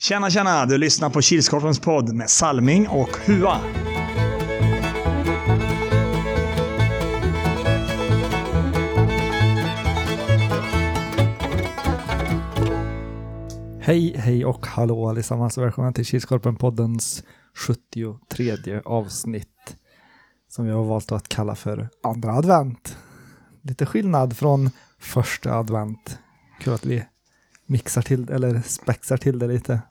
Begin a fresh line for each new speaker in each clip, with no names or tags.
Tjena, tjena! Du lyssnar på Kilskorpens podd med Salming och Hua.
Hej, hej och hallå allesammans och välkomna till Kilskorpen-poddens 73 avsnitt som vi har valt att kalla för andra advent. Lite skillnad från första advent. Kul att vi mixar till eller spexar till det lite.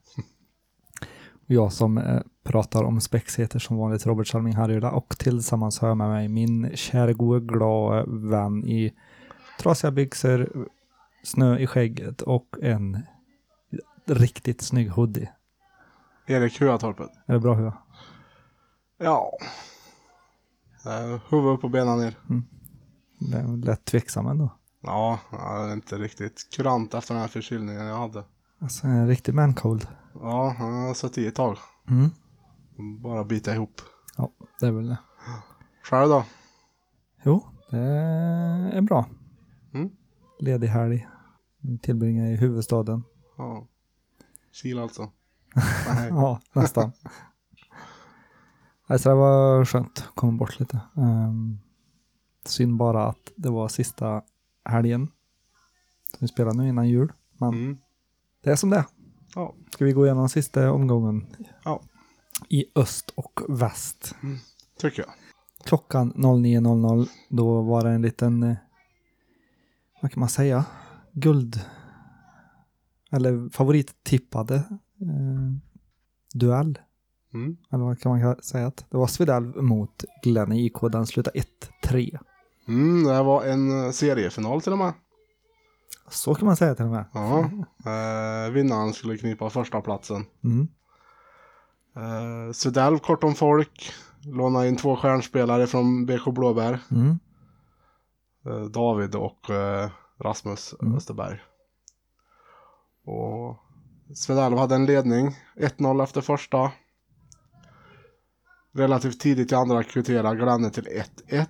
Och jag som eh, pratar om spex heter som vanligt Robert Salming Harjula och tillsammans har jag med mig min kära gode glada vän i trasiga byxor, snö i skägget och en riktigt snygg hoodie.
Erik Huatorpet.
Är det bra Hua?
Ja. Eh, Huvud upp och benen ner.
Det är lätt tveksam ändå.
Ja, jag är inte riktigt kurant efter den här förkylningen jag hade.
Alltså en riktig man cold.
Ja, jag har suttit i ett tag.
Mm.
Bara bita ihop.
Ja, det är väl det.
Själv då?
Jo, det är bra.
Mm.
Ledig helg. Tillbringar i huvudstaden.
Ja. Kil alltså. Nej.
Ja, nästan. alltså det var skönt. Kom bort lite. Um, synd bara att det var sista helgen. Som vi spelade nu innan jul. Men
Mm.
det är som det är.
Ja.
Ska vi gå igenom sista omgången?
Ja.
I öst och väst.
Tycker jag.
klockan 09.00 då var det en liten, eh, vad kan man säga, guld eller favorittippade eh, duell.
Mm.
Eller vad kan man ka- säga att det var Svedalv mot Glenn i IK. Den slutade 1-3.
Mm, det här var en eh, seriefinal till och med.
Så kan man säga till och med.
Ja. Eh, vinnaren skulle knipa första platsen.
Mm.
Eh, Svedell kort om folk. Låna in två stjärnspelare från BK Blåbär.
Mm.
eh, David och eh, Rasmus
Mm.
Österberg. Och Svedalv hade en ledning, 1-0 efter första. Relativt tidigt i andra kvitterade Glanne till 1-1.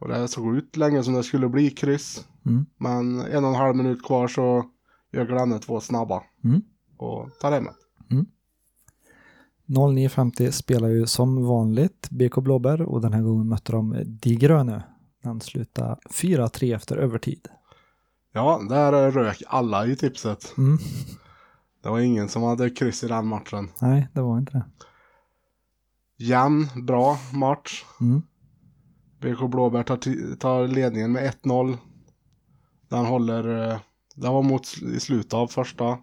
Och det såg ut länge som det skulle bli kryss.
Mm.
Men en och en halv minut kvar så gör Glanne två snabba.
Mm.
Och tar hem det.
09.50 spelar ju som vanligt BK Blåbär och den här gången mötte de De Gröne. Den slutade 4-3 efter övertid.
Ja, där eh, rök alla i tipset.
Mm.
Det var ingen som hade kryss i den matchen.
Nej, det var inte det.
Jämn, bra match.
Mm.
BK Blåbär tar, ti- tar ledningen med 1-0. Den håller... eh, Det var mot sl- i slutet av första.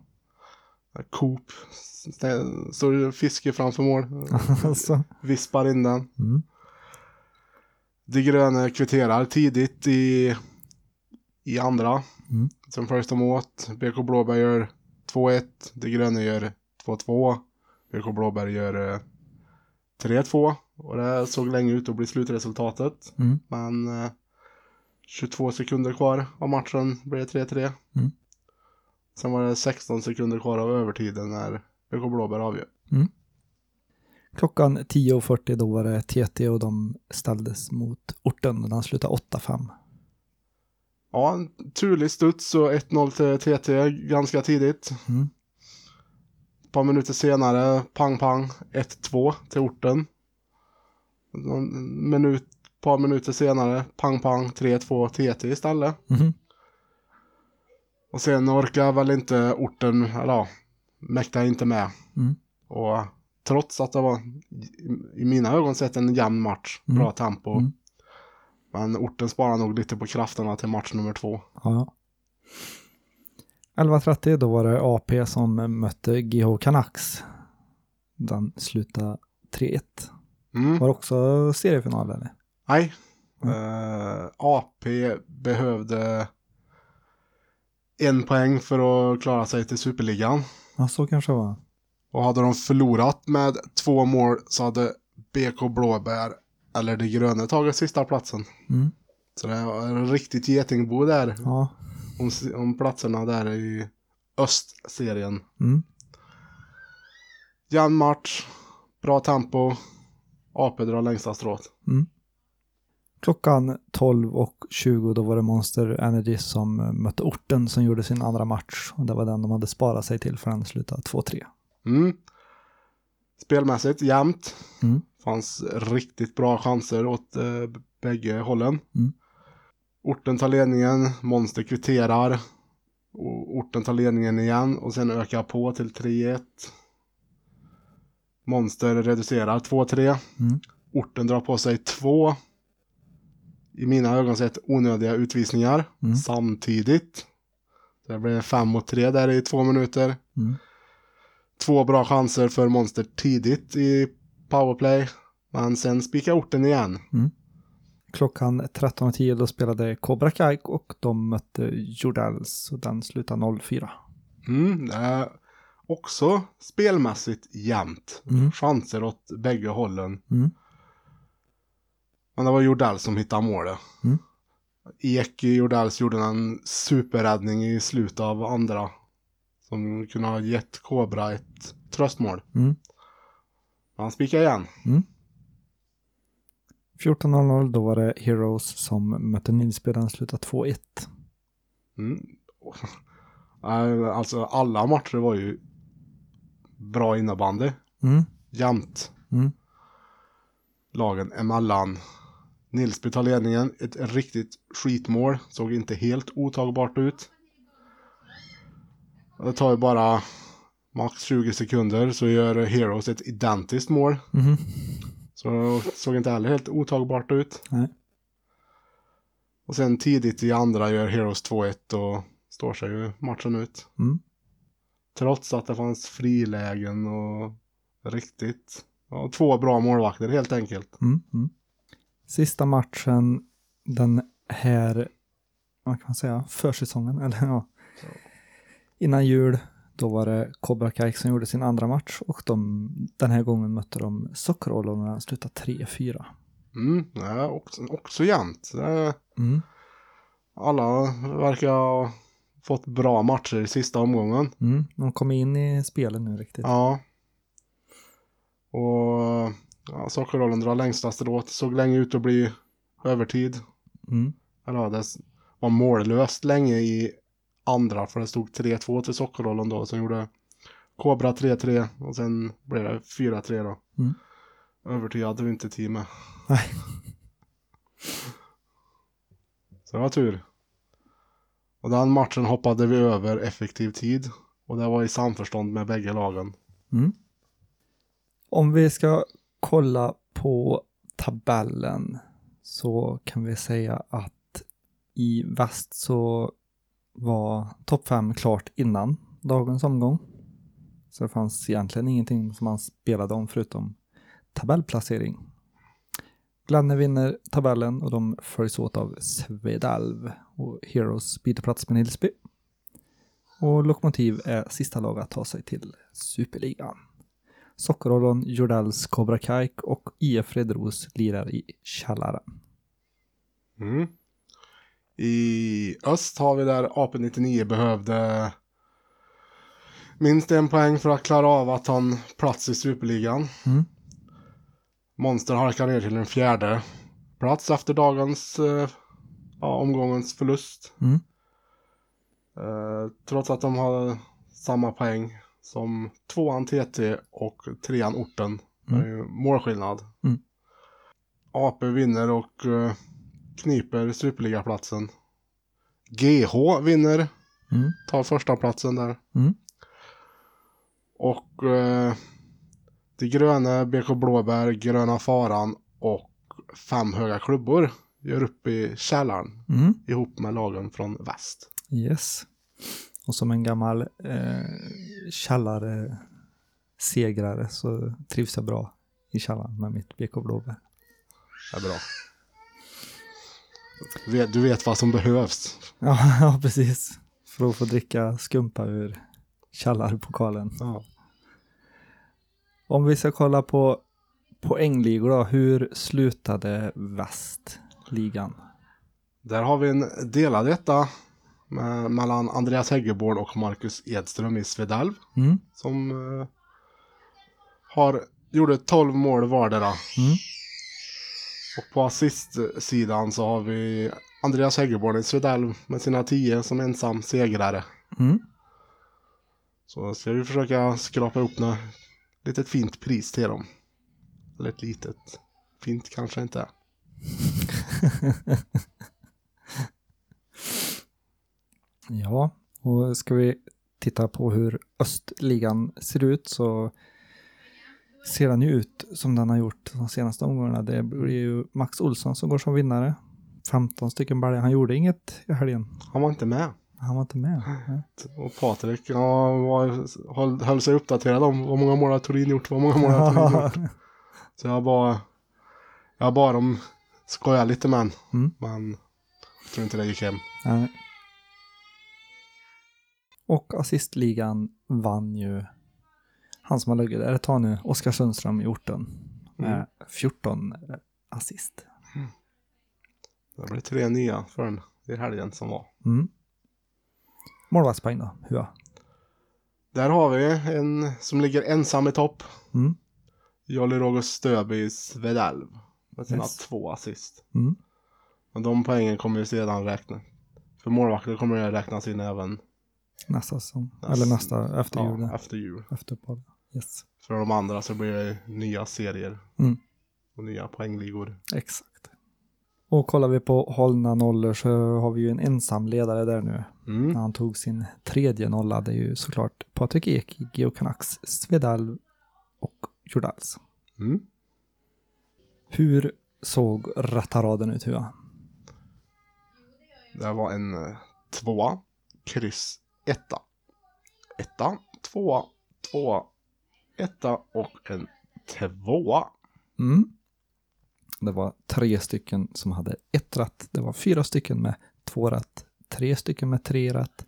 Coop. stä- Står Fiske framför mål.
alltså.
Vispar in den.
Mm.
De gröna kvitterar tidigt i, i andra.
Mm.
Sen följs de åt. BK Blåbär gör 2-1. De gröna gör 2-2. BK Blåbär gör eh, 3-2. Och det såg länge ut att bli slutresultatet.
Mm.
Men eh, 22 sekunder kvar av matchen blev det 3-3.
Mm.
Sen var det 16 sekunder kvar av övertiden när BK Blåbär avgör.
Klockan 10.40 då var det TT och de ställdes mot orten och den slutade 8-5.
Ja, en turlig studs och 1-0 till TT ganska tidigt.
Mm.
Ett par minuter senare, pang pang, 1-2 till orten. Någon minut, par minuter senare, pang pang, 3-2 TT E istället.
Mhm.
Och sen orkar väl inte orten, eller ja, mäktar inte med.
Mm.
Och trots att det var, i- i mina ögon sett, en jämn match,
Mm.
bra tempo.
Mm.
Men orten sparar nog lite på krafterna till match nummer två.
Ja. 11.30 då var det AP som mötte GH Canucks. Den slutade 3-1.
Mm.
Var det också seriefinal eller?
Nej.
Mm.
Eh, AP behövde en poäng för att klara sig till Superligan.
Ja, så kanske det var.
Och hade de förlorat med två mål så hade BK Blåbär eller De Gröna tagit sista platsen.
Mm.
Så det var en riktigt getingbo där
Ja.
om, om platserna där i östserien.
Mm.
Jämn match, bra tempo, AP drar längsta strået.
Klockan 12 och 20 då var det Monster Energy som eh, mötte orten som gjorde sin andra match. Och det var den de hade sparat sig till för den slutade 2-3.
Mm. Spelmässigt jämnt.
Mm.
Fanns riktigt bra chanser åt eh, b- bägge hållen.
Mm.
Orten tar ledningen, Monster kvitterar. Och orten tar ledningen igen och sen ökar på till 3-1. Monster reducerar 2-3.
Mm.
Orten drar på sig två, i mina ögon sett, onödiga utvisningar
Mm.
samtidigt. Det blev 5 mot 3 där i två minuter
Mm.
två bra chanser för Monster tidigt i powerplay. Men sen spikar orten igen.
Klockan 13.10 då spelade Cobra Kai och de mötte Jordals och den slutade 04.
Mm, det är också spelmässigt jämnt.
Mm.
Chanser åt bägge hållen.
Mm.
Men det var Jordal som hittade målet.
Mm.
Eki Jordals gjorde en superräddning i slutet av andra. Som kunde ha gett Kobra ett tröstmål.
Mm.
Men Han spikar igen.
14.00 då var det Heroes som mötte Nilsbyden, slutade 2-1.
Mm. Eh, Alltså alla matcher var ju bra innebandy.
Mm.
jämnt.
Mm.
Lagen emellan. Nilsby tar ledningen. Ett riktigt skitmål. Såg inte helt otagbart ut. Det tar ju bara max 20 sekunder så gör Heroes ett identiskt mål.
Mhm.
Så såg inte heller helt otagbart ut.
Nej.
Och sen tidigt i andra gör Heroes 2-1 och står sig ju matchen ut.
Mm.
Trots att det fanns frilägen och riktigt. Ja, två bra målvakter helt enkelt.
Mm. Mm. Sista matchen den här, vad kan man säga, försäsongen, eller ja, innan jul, då var det Cobra Kai som gjorde sin andra match och de, den här gången mötte de Sockerollorna, slutade 3-4.
Mm, ja, också, också jämnt. Eh,
Mm.
Alla verkar ha fått bra matcher i sista omgången.
Mm. De kom in i spelen nu riktigt.
Ja. Och ja, Sockerrollen drar längsta strået. Såg länge ut att bli övertid.
Mm.
Eller ja, det s- var mållöst länge i andra. För det stod 3-2 till Sockerrollen då. Sen gjorde Kobra 3-3. Och sen blev det 4-3 då.
Mm.
Övertid hade vi inte tid med.
Nej.
Så det var tur. Och den matchen hoppade vi över effektiv tid. Och det var i samförstånd med bägge lagen.
Mm. Om vi ska kolla på tabellen så kan vi säga att i väst så var topp 5 klart innan dagens omgång. Så det fanns egentligen ingenting som man spelade om förutom tabellplacering. Glenne vinner tabellen och de följs åt av Svedalv och Heroes byter plats med Nilsby. Och Lokomotiv är sista lag att ta sig till Superligan. Sockerrollon, Jordals, Cobra Kai och IF Redros lirar i källaren.
Mm. I öst har vi där AP-99 behövde minst en poäng för att klara av att ta en plats i Superligan.
Mm.
Monster harkar ner till en fjärde plats efter dagens, eh, ja, omgångens förlust.
Mm.
Eh, trots att de har samma poäng som tvåan TT och trean Orten. Det är ju målskillnad.
Mm.
AP vinner och eh, kniper Superligaplatsen. GH vinner,
Mm.
tar första platsen där.
Mm.
Och eh, De gröna, BK Blåbär, Gröna Faran och Fem Höga Klubbor gör upp i källaren
Mm.
ihop med lagen från väst.
Yes. Och som en gammal eh, källare-segrare så trivs jag bra i källaren med mitt BK Blåbär.
Det är bra. Du vet, du vet vad som behövs.
Ja, ja, precis. För att få dricka skumpa ur källarpokalen.
Ja.
Om vi ska kolla på poängligor då, hur slutade västligan?
Där har vi en delad etta med, mellan Andreas Häggeborn och Marcus Edström i Svedalv.
Mm.
Som eh, har, gjorde 12 mål vardera.
Mm.
Och på assistsidan så har vi Mm. Andreas Häggeborn i Svedalv med sina 10 som ensam segrare.
Mm.
Så ska vi försöka skrapa ihop något litet fint pris till dem. Eller ett litet. Fint kanske inte är.
Ja, och ska vi titta på hur östligan ser ut så ser den ju ut som den har gjort de senaste omgångarna. Det blir ju Max Olsson som går som vinnare. 15 stycken baljor. Han gjorde inget i helgen.
Han var inte med.
Han var inte med. Nej.
Och Patrik ja, var, höll, höll sig uppdaterad om vad många mål har Torin gjort, vad många mål har Torin gjort. Så jag bara, jag bara om skojar lite med honom.
Mm.
Men jag tror inte det gick hem.
Nej. Och assistligan vann ju han som har legat där ett tag nu, Oskar Sundström i orten. Med
Mm.
14 assist.
Det blev tre nya för den i helgen som var.
Mm. Målvaktspoäng då, Hua.
Där har vi en som ligger ensam i topp.
Mm.
Jolly Roger Stöby i Svedalv. Med sina
Yes.
två assist.
Mm.
Men de poängen kommer ju sedan räkna. För målvakter kommer det räknas in även
Nästa säsong,
Nästa-
eller nästa efter
ja,
jul.
efter jul.
Efter uppehåll. Yes.
För de andra så blir det nya serier.
Mm.
Och nya poängligor.
Exakt. Och kollar vi på hållna nollor så har vi ju en ensam ledare där nu.
Mm.
När han tog sin tredje nolla, det är ju såklart Patrik Ek i GH Canucks, Svedalv och Jordals.
Mm.
Hur såg rattaraden ut Hua?
Det här var en eh, tvåa, kryss, etta. Etta, tvåa, tvåa, etta och en tvåa.
Mm. Det var tre stycken som hade ett rätt. Det var fyra stycken med två rätt, tre stycken med tre rätt,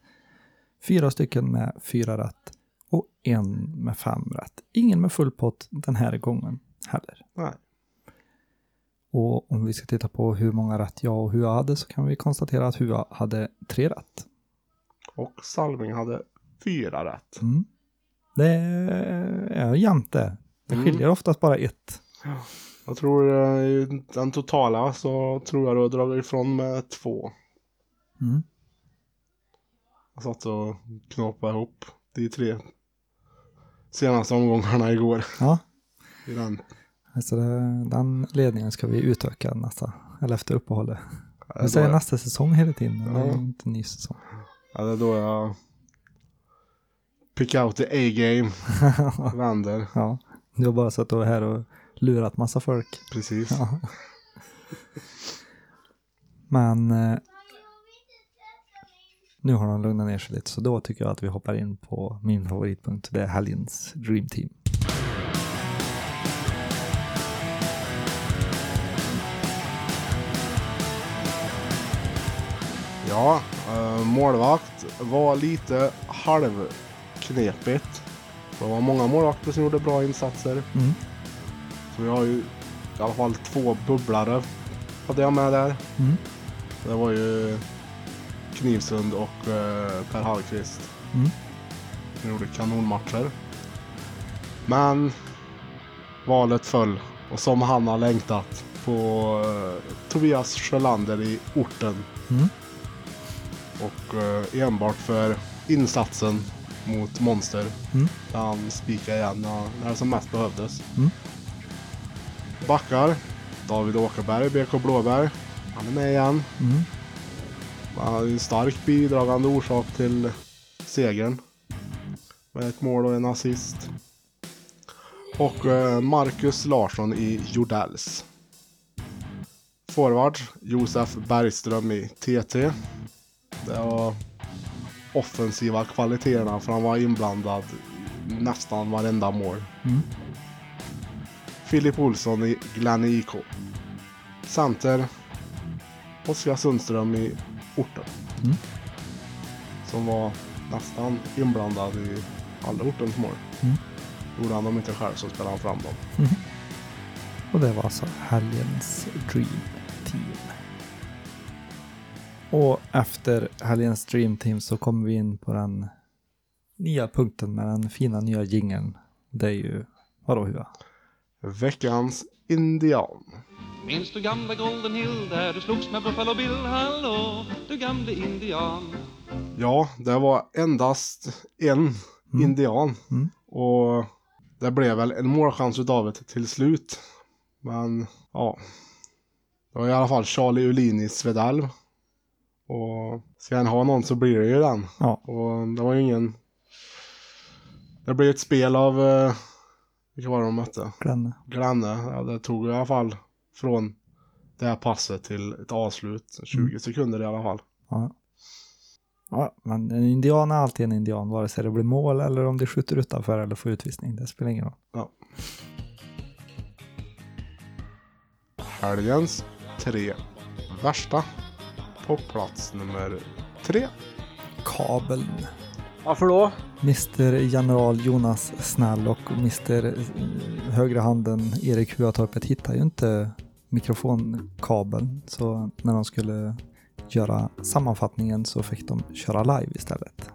fyra stycken med fyra rätt och en med fem rätt. Ingen med full pott den här gången heller.
Nej.
Och om vi ska titta på hur många rätt jag och Hua hade så kan vi konstatera att Hua hade tre rätt.
Och Salming hade fyra rätt.
Mm. Det är jämnt det. Det
Mm.
skiljer oftast bara ett.
Jag tror eh, i den totala så tror jag du har dragit ifrån med två.
Mm.
Jag satt och knåpade ihop de tre senaste omgångarna igår.
Ja,
I den.
Alltså det, den ledningen ska vi utöka nästa, eller efter uppehållet. Vi säger nästa säsong hela tiden, men det är
Ja.
ju inte en ny säsong.
Ja, det är då jag pick out the A-game. Vänder.
ja, du har bara suttit här och lurat massa folk.
Precis.
Ja. Men eh, nu har de lugnat ner sig lite, så då tycker jag att vi hoppar in på min favoritpunkt. Det är helgens Dream Team.
Ja, eh, målvakt var lite halvknepigt. Det var många målvakter som gjorde bra insatser.
Mm.
Så vi har ju i alla fall två bubblare hade jag med där.
Mm.
Det var ju Knivsund och eh, Per Hallqvist.
Mm.
De gjorde kanonmatcher. Men valet föll. Och som han har längtat på eh, Tobias Sjölander i orten.
Mm.
Och eh, enbart för insatsen mot Monster.
Mm.
Där han spikade igen när- när det som mest behövdes.
Mm.
Backar. David Åkerberg, BK Blåberg. Han är med igen.
Mm.
Han är en stark bidragande orsak till segern. Med ett mål och en assist. Och eh, Marcus Larsson i Jordals. Forward Josef Bergström i TT. Det var offensiva kvaliteterna för han var inblandad i nästan varenda mål.
Mm.
Filip Olsson i Glenn IK. Center Oskar Sundström i orten.
Mm.
Som var nästan inblandad i alla ortens mål.
Mm.
Gjorde han dem inte själv så spelade han fram dem.
Och det var alltså helgens Dream Team. Och efter helgens Dream Team så kommer vi in på den nya punkten med den fina nya jingeln. Det är ju, vadå Hua?
Veckans indian.
Minns du gamla Golden Hill där du slogs med Buffalo Bill? Hallå, du gamle indian.
Ja, det var endast en indian.
Mm.
Och det blev väl en målchans utav det till slut. Men ja. Det var i alla fall Charlie Ulini Svedalv. Och ska han ha någon så blir det ju den.
Ja.
Och det var ju ingen... Det blev ett spel av... Eh, vilka var det de mötte?
Glenn.
Granne. Ja, det tog i alla fall från det här passet till ett avslut.
Mm.
20 sekunder i alla fall.
Ja. Ja, men en indian är alltid en indian, vare sig det blir mål eller om de skjuter utanför eller får utvisning. Det spelar ingen roll.
Helgens tre värsta. På plats nummer tre.
Kabeln.
Varför då?
Mr General Jonas Snäll och Mr eh, högra handen Erik Huatorpet hittar ju inte mikrofonkabeln. Så när de skulle göra sammanfattningen så fick de köra live istället.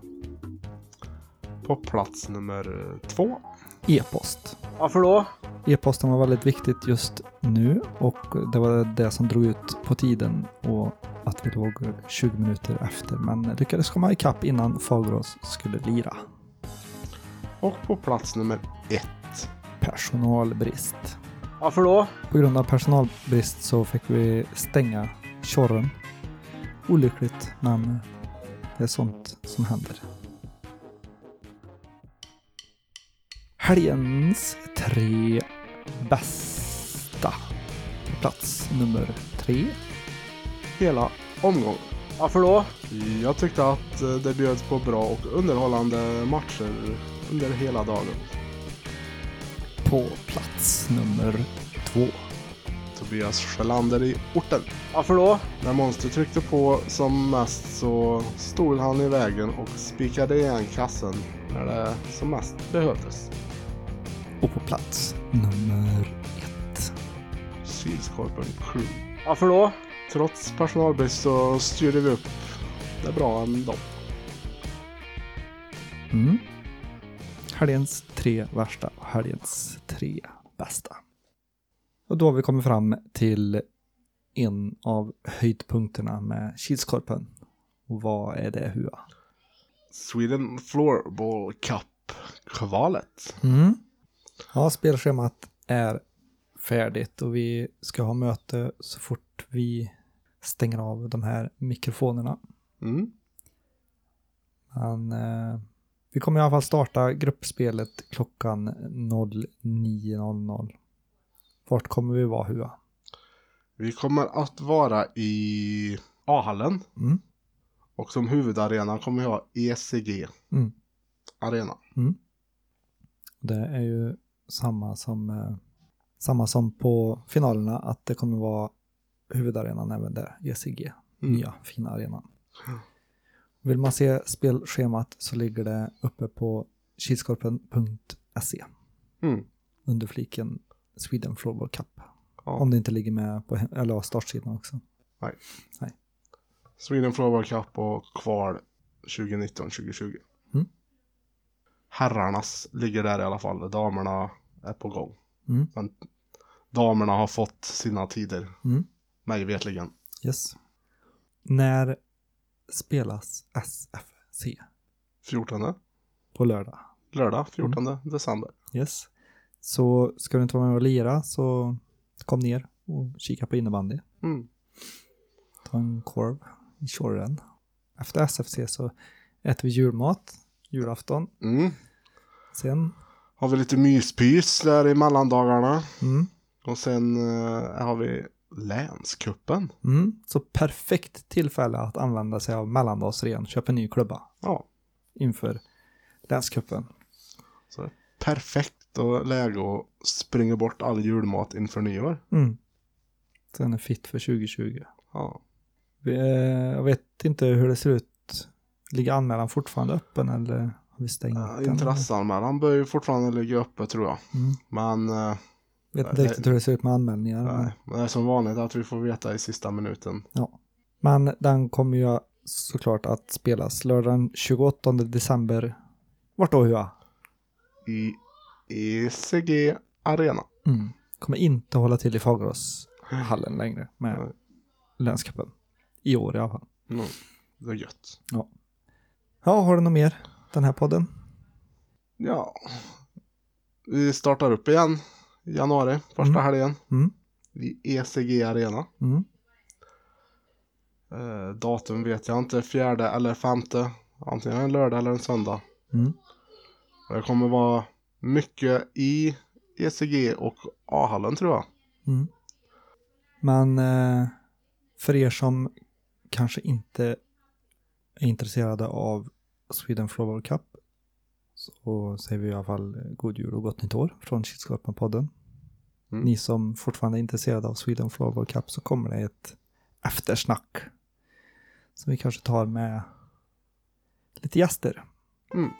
På plats nummer två.
E-post.
Varför då?
E-posten var väldigt viktigt just nu och det var det som drog ut på tiden och att vi låg 20 minuter efter men lyckades komma ikapp innan Fagerås skulle lira.
Och på plats nummer ett.
Personalbrist.
Varför då?
På grund av personalbrist så fick vi stänga Tjorren. Olyckligt, men det är sånt som händer. Helgens tre bästa. På Plats nummer tre.
Hela omgången. Varför då? Jag tyckte att eh, det bjöds på bra och underhållande matcher under hela dagen.
På plats nummer två.
Tobias Sjölander i orten. Varför då? När Monster tryckte på som mest så stod han i vägen och spikade igen kassen när det som mest behövdes.
Och på plats nummer ett.
Kilskorpen Crew. Varför då? Trots personalbrist så styrde vi upp det bra ändå.
Mm. Helgens tre värsta och helgens tre bästa. Och då har vi kommit fram till en av höjdpunkterna med Kilskorpen. Och vad är det Hua?
Sweden Floorball Cup-kvalet.
Mm. Ja, spelschemat är färdigt och vi ska ha möte så fort vi stänger av de här mikrofonerna.
Mm.
Men eh, vi kommer i alla fall starta gruppspelet klockan 09.00. Vart kommer vi vara Hua?
Vi kommer att vara i A-hallen.
Mm.
Och som huvudarena kommer vi ha ECG.
Mm.
Arena.
Det är ju samma som, eh, samma som på finalerna, att det kommer vara huvudarenan även där, E ECG,
Mm.
nya fina arenan. Vill man se spelschemat så ligger det uppe på kilskorpen.se
Mm.
E, under fliken Sweden Floorball Cup.
Ja.
Om det inte ligger med på he- eller startsidan också.
Sweden Floorball Cup och kval 2019-2020.
Mm.
Herrarnas ligger där i alla fall. Damerna är på gång.
Mm.
Men damerna har fått sina tider.
Mm.
Mig vetligen.
Yes. När spelas SFC
14
på lördag?
lördag
Mm.
14 december.
Yes. Så ska du inte vara med och lira så kom ner och kika på innebandy.
Mm.
Ta en korv i tjorren. Efter SFC så äter vi julmat, julafton.
Mm.
Sen,
Har vi lite myspys där i mellandagarna.
mm,
Och sen eh, har vi länskuppen.
mm, så perfekt tillfälle att använda sig av mellandagsrean, köpa en ny klubba
Ja,
inför länscupen.
så det är perfekt och läge att springa bort all julmat inför nyår.
Mm. Sen är fit för 2020.
Ja.
Vi, eh, Jag vet inte hur det ser ut. Ligger anmälan fortfarande öppen eller har vi stängt
Uh,
den?
intresseanmälan bör ju fortfarande ligga uppe tror jag.
Mm.
Men, eh,
Vet inte riktigt hur det ser ut med anmälningar. men-
nej. Men det är som vanligt att vi får veta i sista minuten.
Men den kommer ju såklart att spelas lördagen 28 december. Vart då Hua?
I ECG Arena.
Mm. Kommer inte hålla till i Fageråshallen längre
Nej.
med länscupen. I år i alla fall.
Mm. Det är gött.
Ja, har du något mer den här podden?
Ja. Vi startar upp igen i januari, första
Mm.
helgen.
Mm.
I ECG Arena.
Mm.
Eh, datum vet jag inte, fjärde eller femte. Antingen en lördag eller en söndag.
Mm.
Och Det kommer vara mycket i ECG och A-hallen tror jag.
Mm. Men eh, för er som kanske inte är intresserade av Sweden Floorball Cup så säger vi i alla fall eh, god jul och gott nytt år från Kilskorpen-podden.
Mm.
Ni som fortfarande är intresserade av Sweden Floorball Cup så kommer det ett eftersnack som vi kanske tar med lite gäster.
Mm.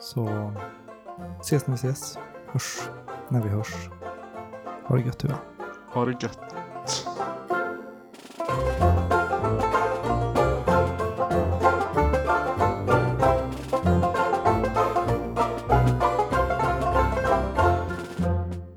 Så ses när vi ses, hörs när vi hörs. Ha det gött du.
Ha det gött.